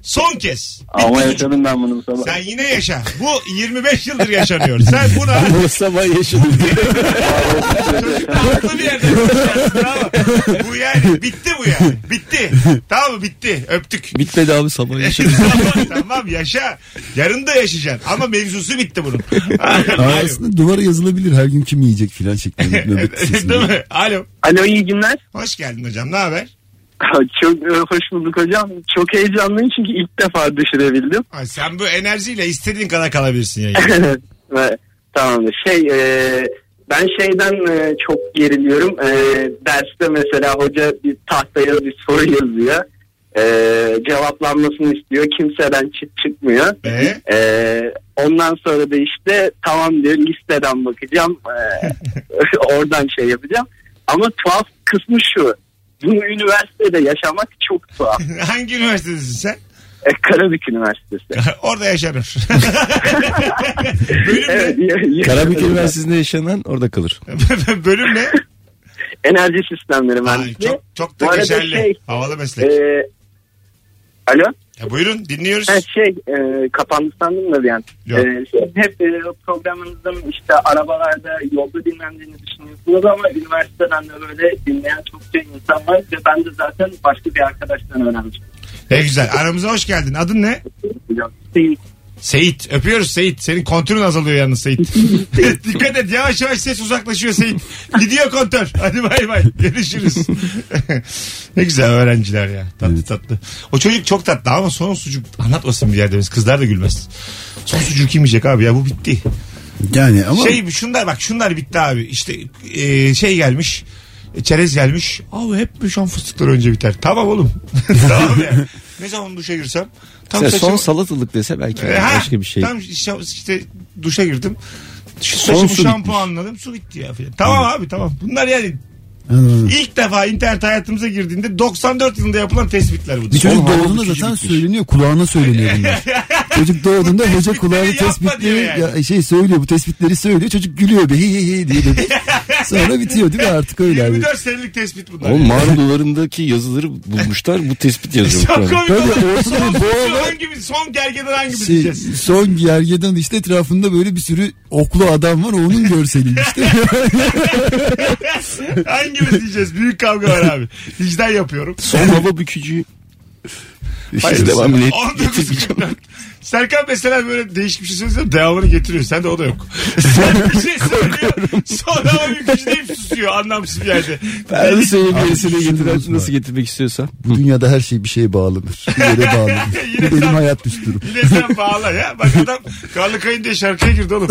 S2: Son kez.
S5: ama yaşadım ben bunu bu sabah.
S2: Sen yine yaşa. Bu 25 yıldır yaşanıyor. Sen buna
S4: Bu
S2: *laughs*
S4: sabah yaşadım.
S2: çocuk haklı bir yerde. yaşayacaksın. Bravo. Bu yani bitti bu yani. Bitti. Tamam mı? Bitti. Öptük.
S4: Bitmedi abi sabah yaşadım. *laughs*
S2: tamam, tamam yaşa. Yarın da yaşayacaksın. Ama mevzusu bitti bunun.
S3: Aa, Aslında duvara yazılabilir her gün kim yiyecek filan şeklinde
S2: *laughs*
S3: nöbet
S2: Değil
S3: sesinde.
S2: mi? Alo.
S9: Alo iyi günler. *laughs*
S2: Hoş geldin hocam. Ne haber?
S9: Çok e, hoş bulduk hocam. Çok heyecanlıyım çünkü ilk defa düşürebildim.
S2: Ay sen bu enerjiyle istediğin kadar kalabilirsin
S9: *laughs*
S2: yayında.
S9: Ve Tamamdır. Şey e, ben şeyden e, çok geriliyorum. E, derste mesela hoca bir tahtaya bir soru yazıyor. E, cevaplanmasını istiyor. Kimseden çıt çıkmıyor.
S2: Ee?
S9: E, ondan sonra da işte tamam diyor listeden bakacağım. E,
S2: *laughs*
S9: oradan şey yapacağım. Ama tuhaf kısmı şu. Bunu üniversitede yaşamak çok tuhaf.
S2: *laughs* Hangi üniversitedesin sen?
S9: E, Karabük Üniversitesi.
S2: Orada yaşanır. *laughs* bölüm,
S9: *laughs* Evet,
S4: Karabük Üniversitesi'nde yaşanan orada kalır.
S2: ne? *laughs* bölüm ne?
S9: Enerji sistemleri
S2: Ay,
S9: mühendisliği.
S2: çok, çok
S9: Bu
S2: da
S9: arada
S2: geçerli.
S9: şey,
S2: Havalı meslek.
S9: Ee, alo?
S2: Ya buyurun dinliyoruz.
S9: Ha, şey e, kapandı sandım da bir an.
S2: Yok.
S9: E, şey, hep e, programınızda işte arabalarda yolda dinlendiğini düşünüyorsunuz ama üniversiteden de böyle dinleyen çokça insan var ve ben de zaten başka bir arkadaştan öğrenmiştim.
S2: Ne güzel. Aramıza hoş geldin. Adın ne?
S9: Seyit.
S2: Seyit. Öpüyoruz Seyit. Senin kontürün azalıyor yalnız *laughs* Seyit. Dikkat et yavaş yavaş ses uzaklaşıyor Seyit. Gidiyor kontör. Hadi bay bay. Görüşürüz. *laughs* ne güzel öğrenciler ya. Tatlı tatlı. O çocuk çok tatlı ama son sucuk anlatmasın bir yerde. biz. Kızlar da gülmez. Son sucuk kim yiyecek abi ya bu bitti.
S3: Yani ama
S2: Şey şunlar bak şunlar bitti abi. İşte e, şey gelmiş. e, Çerez gelmiş. Abi hep bu şan fıstıkları önce biter. Tamam oğlum. *laughs* tamam ya. Ne zaman duşa girsem. Tam
S4: Mesela son
S2: saçımı-
S4: salatalık dese belki
S2: e, ha,
S4: başka bir şey.
S2: Tam işte, işte duşa girdim. Şu
S4: Son
S2: saçımı
S4: su
S2: şampuanladım su bitti ya filan. Tamam abi tamam. Bunlar yani ilk defa internet hayatımıza girdiğinde 94 yılında yapılan tespitler bu.
S3: bir çocuk
S4: Oğlum, harbi
S3: doğduğunda
S4: bir çocuk
S3: zaten
S4: bitmiş.
S3: söyleniyor
S2: *laughs*
S3: kulağına söyleniyor bunlar. çocuk doğduğunda hoca kulağına
S2: Tespitleri yapma
S3: tespitleri
S2: diyor yani.
S3: ya, şey söylüyor bu tespitleri söylüyor çocuk gülüyor be hi hi hi diye
S2: *laughs*
S3: bebek. Sonra bitiyor değil mi artık öyle abi.
S2: 24 senelik tespit bunlar. *laughs*
S4: Oğlum mağara duvarındaki yazıları bulmuşlar. Bu tespit *laughs* yazıyor.
S2: Çok komik
S3: Tabii,
S2: olur.
S3: ortada
S2: Son,
S3: boğalı-
S2: son hangimiz, son gergeden hangimiz
S3: Şey,
S2: diyeceğiz.
S3: son gergedan işte etrafında böyle bir sürü oklu adam var onun görseli işte.
S2: Hangimiz diyeceğiz? Büyük kavga var abi. Vicdan yapıyorum.
S4: Son hava bükücü. Hayır, devam bile
S2: 19.44. Serkan mesela böyle değişik bir şey söylüyor. Devamını getiriyor. Sen de o da yok. Sen bir şey söylüyor. Sonra o yükücü deyip susuyor anlamsız bir yerde.
S4: Ben de senin
S3: Abi,
S4: gerisine
S3: şunu
S4: getiren
S3: unutma.
S4: nasıl getirmek istiyorsa.
S3: Bu dünyada her şey bir şeye bağlanır.
S2: *laughs*
S3: Bir yere bağlanır. Bu
S2: Yine sen-
S3: benim hayat düsturum.
S2: Yine sen bağla ya. Bak adam Karlı Kayın diye şarkıya girdi oğlum.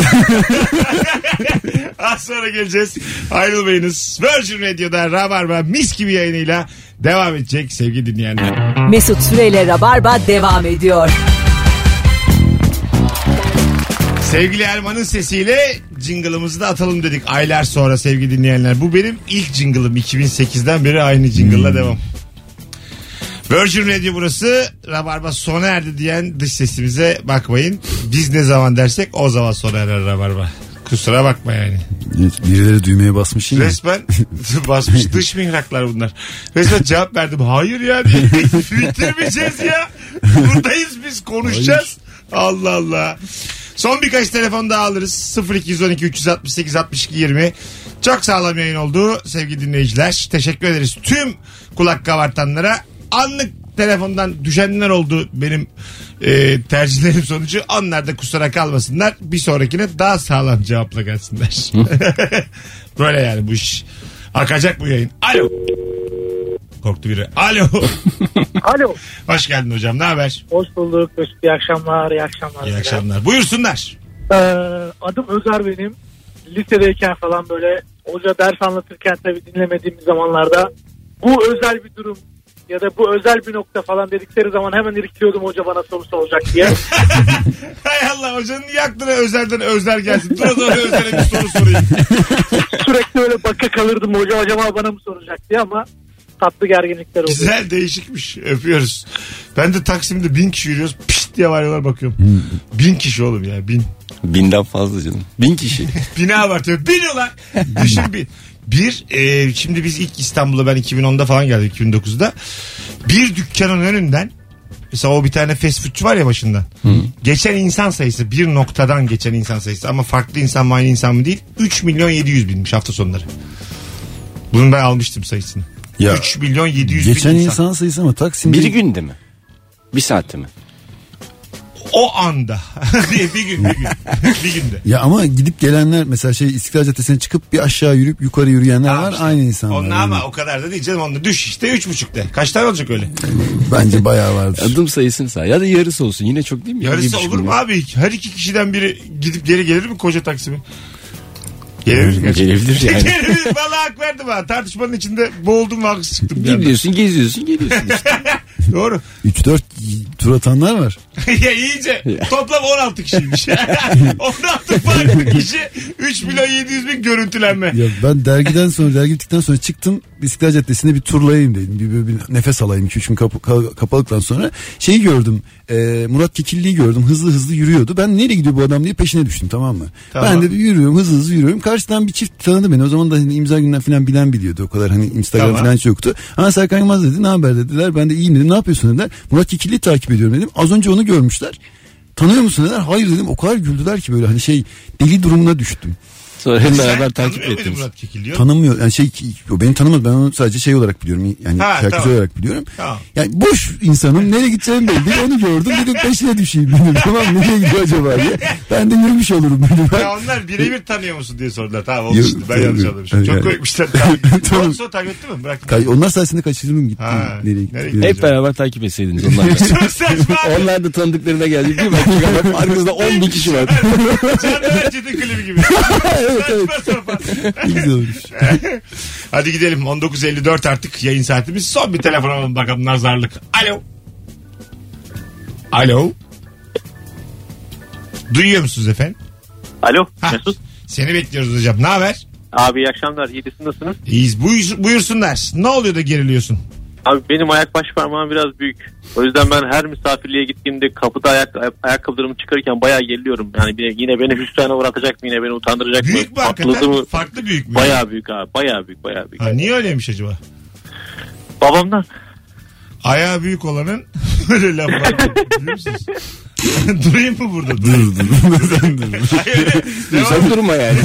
S2: Az sonra geleceğiz. Ayrılmayınız. Virgin Radio'da Rabarba mis gibi yayınıyla devam edecek sevgili dinleyenler.
S1: Mesut Süreyle Rabarba devam ediyor.
S2: Sevgili Erman'ın sesiyle jingle'ımızı da atalım dedik aylar sonra sevgili dinleyenler. Bu benim ilk jingle'ım 2008'den beri aynı jingle'la devam. Virgin Radio burası. Rabarba sona erdi diyen dış sesimize bakmayın. Biz ne zaman dersek o zaman sona erer Rabarba. Kusura bakma yani.
S3: Evet, birileri düğmeye basmış yine.
S2: Resmen basmış dış mihraklar bunlar. Resmen cevap verdim. Hayır ya diye. Bitirmeyeceğiz ya. Buradayız biz konuşacağız. Allah Allah. Son birkaç telefon daha alırız. 0212 368 62 20. Çok sağlam yayın oldu sevgili dinleyiciler. Teşekkür ederiz tüm kulak kabartanlara. Anlık telefondan düşenler oldu benim e, tercihlerim sonucu. Onlar da kusura kalmasınlar. Bir sonrakine daha sağlam cevapla gelsinler. Böyle yani bu iş. Akacak bu yayın. Alo. Korktu biri. Alo.
S5: Alo.
S2: Hoş geldin hocam. Ne haber?
S5: Hoş bulduk. Mesut, İyi akşamlar. iyi akşamlar.
S2: İyi akşamlar. Buyursunlar.
S5: Ee, adım Özer benim. Lisedeyken falan böyle hoca ders anlatırken tabii dinlemediğim zamanlarda bu özel bir durum ya da bu özel bir nokta falan dedikleri zaman hemen irkiliyordum hoca bana soru
S2: *laughs*
S5: soracak diye.
S2: Hay Allah hocanın yaktığına özelden özler gelsin. Dur dur özlere bir soru sorayım.
S5: Sürekli öyle bakka kalırdım hoca acaba bana mı soracak diye ama tatlı gerginlikler oldu.
S2: Güzel değişikmiş. Öpüyoruz. Ben de Taksim'de bin kişi yürüyoruz. Pişt diye varıyorlar bakıyorum. Bin kişi oğlum ya bin.
S4: Binden fazla canım. Bin *laughs* kişi.
S2: Bine abartıyor. Bin
S3: *laughs*
S2: ulan. Düşün bin. Bir, e, şimdi biz ilk İstanbul'a ben 2010'da falan geldik 2009'da. Bir dükkanın önünden mesela o bir tane fast foodçu var ya başından. Geçen insan sayısı bir noktadan geçen insan sayısı ama farklı insan mı aynı insan mı değil. 3 milyon 700 binmiş hafta sonları. Bunu ben almıştım sayısını.
S3: Ya,
S2: 3 milyon 700
S3: Geçen
S2: bin
S3: insan, sayısı ama Taksim'de
S4: Bir günde mi? Bir saatte mi?
S2: O anda. *laughs* diye bir gün
S3: *laughs*
S2: bir gün. bir günde.
S3: Ya ama gidip gelenler mesela şey İstiklal Caddesi'ne çıkıp bir aşağı yürüyüp yukarı yürüyenler
S2: Tamam
S3: var
S2: işte.
S3: aynı insanlar.
S2: Onlar
S3: yani.
S2: ama o kadar da değil canım. Onda düş işte üç buçukta. Kaç tane olacak öyle?
S3: Bence
S2: *laughs*
S3: bayağı vardır.
S4: Adım sayısını say. Ya da yarısı olsun. Yine çok değil mi? Bir şey
S2: Yarısı
S4: buçuk
S2: olur mu
S4: milyon.
S2: abi? Her iki kişiden biri gidip geri gelir mi koca Taksim'e? Gelir mi? *laughs*
S4: Gelebilir yani.
S2: Gelir Valla hak verdim ha. Tartışmanın içinde boğuldum ve haksız çıktım. bir yandan.
S4: Gidiyorsun geziyorsun geliyorsun işte.
S2: Doğru. *laughs*
S3: 3-4 tur atanlar var.
S2: ya iyice. Toplam 16
S4: *laughs*
S2: kişiymiş. *laughs* 16 farklı kişi. 3 milyon 700 bin görüntülenme.
S3: Ya ben dergiden sonra dergi bittikten sonra çıktım İstiklal Caddesi'nde bir turlayayım dedim. Bir, bir, bir nefes alayım 2-3 gün kapı, ka- kapalıktan sonra. Şeyi gördüm e, Murat Kekilli'yi gördüm hızlı hızlı yürüyordu. Ben nereye gidiyor bu adam diye peşine düştüm tamam mı?
S2: Tamam.
S3: Ben de bir yürüyorum hızlı hızlı yürüyorum. Karşıdan bir çift tanıdı beni. O zaman da hani imza gününden falan bilen biliyordu. O kadar hani Instagram
S2: Tamam.
S3: falan hiç yoktu. Ha Serkan Yılmaz dedi ne haber dediler. Ben de iyiyim dedim ne yapıyorsun dediler. Murat Kekilli'yi takip ediyorum dedim. Az önce onu görmüşler. Tanıyor musun dediler. Hayır dedim. O kadar güldüler ki böyle hani şey deli durumuna düştüm.
S4: Sonra hep beraber
S2: Sen
S4: takip
S2: tanımıyor muydun
S4: ettiniz.
S2: Murat Kekilli'yi?
S3: tanımıyor yani şey o beni tanımadı ben onu sadece şey olarak biliyorum yani
S2: Ha,
S3: şarkıcı
S2: tamam.
S3: olarak biliyorum.
S2: Tamam.
S3: Yani boş insanım nereye gideceğim belli değil onu gördüm dedim peşine düşeyim dedim şey *laughs* tamam nereye gidiyor acaba diye. Ben de yürümüş olurum dedim. Ben-
S2: Ya onlar birebir tanıyor musun diye sordular. Tamam oldu
S3: Yok,
S2: işte. Ben yanlış
S3: tanımıyorum.
S2: anlamışım. Çok
S3: Yani-
S2: koymuşlar.
S4: *laughs*
S3: Tamam.
S2: Ondan sonra takip etti mi? Bırak. *laughs*
S3: Kay- Onlar sayesinde kaçırdım gittim
S2: Ha,
S3: nereye
S2: nereye
S3: gittim.
S4: Hep beraber takip etseydiniz onlar.
S2: *laughs*
S4: da.
S2: Çok saçma.
S4: onlar da tanıdıklarına geldi. Bir dakika bak arkanızda 10 bin kişi var.
S2: Canlı Çetin klibi
S4: *laughs*
S2: gibi. Saçma sapan.
S3: Ne güzel olmuş.
S2: Hadi gidelim. 19.54 artık yayın saatimiz. Son bir telefon alalım bakalım nazarlık. Alo. Alo. Duyuyor musunuz efendim?
S7: Alo
S2: Hah.
S7: Mesut.
S2: Seni bekliyoruz hocam. Ne haber?
S7: Abi iyi akşamlar. İyisi nasılsınız?
S2: İyiyiz. Buyur, buyursunlar. Ne oluyor da geriliyorsun?
S7: Abi benim ayak baş parmağım biraz büyük. O yüzden ben her misafirliğe gittiğimde kapıda ayak, ay- ayakkabılarımı çıkarırken bayağı geriliyorum. Yani bir- yine beni hüsrana uğratacak mı yine beni utandıracak
S2: Büyük
S7: mı?
S2: mü
S7: E, Patladı
S2: hakikaten?
S7: mı?
S2: Farklı büyük mü?
S7: Bayağı büyük abi bayağı büyük bayağı büyük.
S2: Ha, niye öyleymiş acaba?
S7: Babamdan
S2: Ayağı büyük olanın *laughs* böyle laf var. Biliyor musunuz? *laughs* Durayım mı burada? Dur dur. *laughs* Hayır. öyle. Devam
S4: Sen durma yani.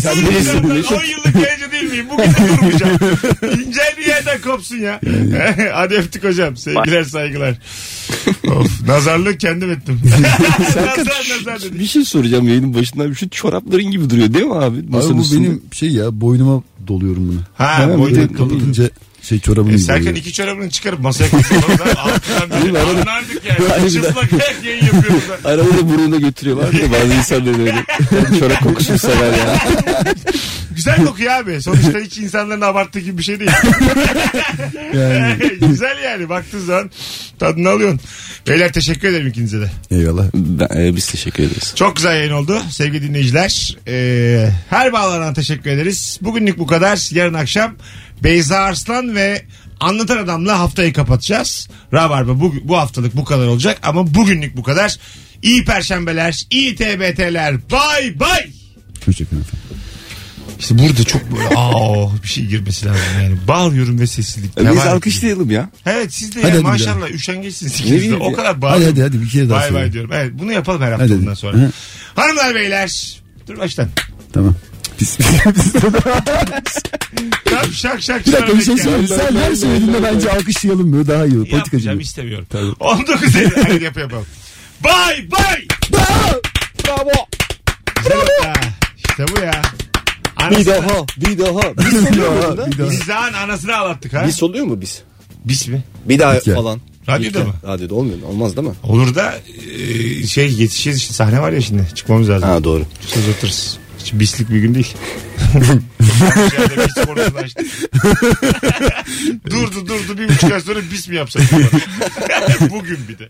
S4: Sen bilirsin.
S2: Ben 10 yıllık yayıncı değil miyim? Bu gece durmayacağım. İncel bir yerden kopsun ya. *laughs* Hadi öptük hocam. Sevgiler saygılar. of, nazarlık kendim ettim. *laughs* nazar nazar dedik.
S4: Bir şey soracağım yayının başından. Şu çorapların gibi duruyor değil mi abi?
S3: Abi
S4: Masanın
S3: bu
S4: üstünde.
S3: benim şey ya boynuma doluyorum bunu.
S2: Ha,
S3: Hemen
S2: boynuna
S3: böyle kapatınca şey çorabını
S2: E,
S3: giyiyorum.
S2: Serkan iki çorabını çıkarıp masaya koyuyoruz. Altından biri anlardık yani.
S4: Harbiden.
S2: Çıplak ayak yayın yapıyoruz.
S4: Arada da burnuna götürüyorlar ya *laughs* bazı insanlar öyle. Yani çorap kokusunu sever ya.
S2: Güzel kokuyor abi. Sonuçta hiç insanların abarttığı gibi bir şey değil. *laughs* Güzel yani. Baktığın zaman tadını alıyorsun. Beyler teşekkür ederim ikinize de.
S3: Eyvallah.
S4: Ben- e, biz teşekkür ederiz.
S2: Çok güzel yayın oldu sevgili dinleyiciler. Ee, her bağlanan teşekkür ederiz. Bugünlük bu kadar. Yarın akşam Beyza Arslan ve Anlatan Adam'la haftayı kapatacağız. Rabarba bu, bu haftalık bu kadar olacak ama bugünlük bu kadar. İyi perşembeler, iyi TBT'ler. Bay bay.
S3: Hoşçakalın efendim.
S2: İşte burada çok böyle aa bir şey girmesi lazım yani. Bağırıyorum ve
S3: E
S2: sessizlik.
S4: E, Biz
S2: devam ediyor.
S4: alkışlayalım ya.
S2: Evet siz de
S3: Hadi
S2: ya
S3: hadi
S2: maşallah üşengeçsiniz
S4: Ne
S2: ikiniz de.
S4: bileyim
S2: O
S4: ya.
S2: kadar
S3: Hadi
S2: bağırıyorum.
S3: hadi hadi bir kere daha
S2: Bay bay
S3: söyle.
S2: diyorum. Evet bunu yapalım her hafta
S3: Hadi.
S2: bundan sonra.
S3: Hı.
S2: Hanımlar beyler. Dur baştan.
S3: Tamam. Biz, *laughs* biz de-
S2: Tam şak şak
S3: bir dakika bir şey
S2: şak-
S3: söyleyeyim. Sen her söylediğinde bence alkışlayalım böyle daha iyi olur. Politikacı.
S2: Yapmayacağım
S3: gibi.
S2: istemiyorum. 19 Eylül
S3: *laughs*
S2: hayır yap yapalım. Bay bay.
S4: Bravo.
S2: Güzel ya. İşte bu ya.
S4: Bir
S2: Anasını,
S4: daha bir daha. Biz
S3: Bir
S4: oluyor
S3: daha,
S4: mu bunda?
S3: bir daha.
S2: biz daha anasını ağlattık ha.
S4: *laughs* Biz oluyor mu biz?
S2: Biz mi?
S4: Bir daha
S3: Peki.
S4: falan.
S2: Radyoda
S4: Bir-
S2: mı?
S4: Radyoda olmuyor. Olmaz değil mi?
S2: Olur da e, şey yetişeceğiz işte sahne var ya şimdi çıkmamız lazım.
S4: Ha doğru.
S2: Söz atarız. Hiç bislik bir gün değil. Hiç yerde bis konusunu açtık. durdu durdu bir buçuk ay sonra bis mi yapsak? Bugün bir de.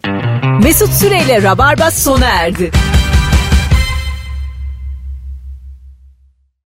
S1: Mesut Süreyle Rabarba sona erdi.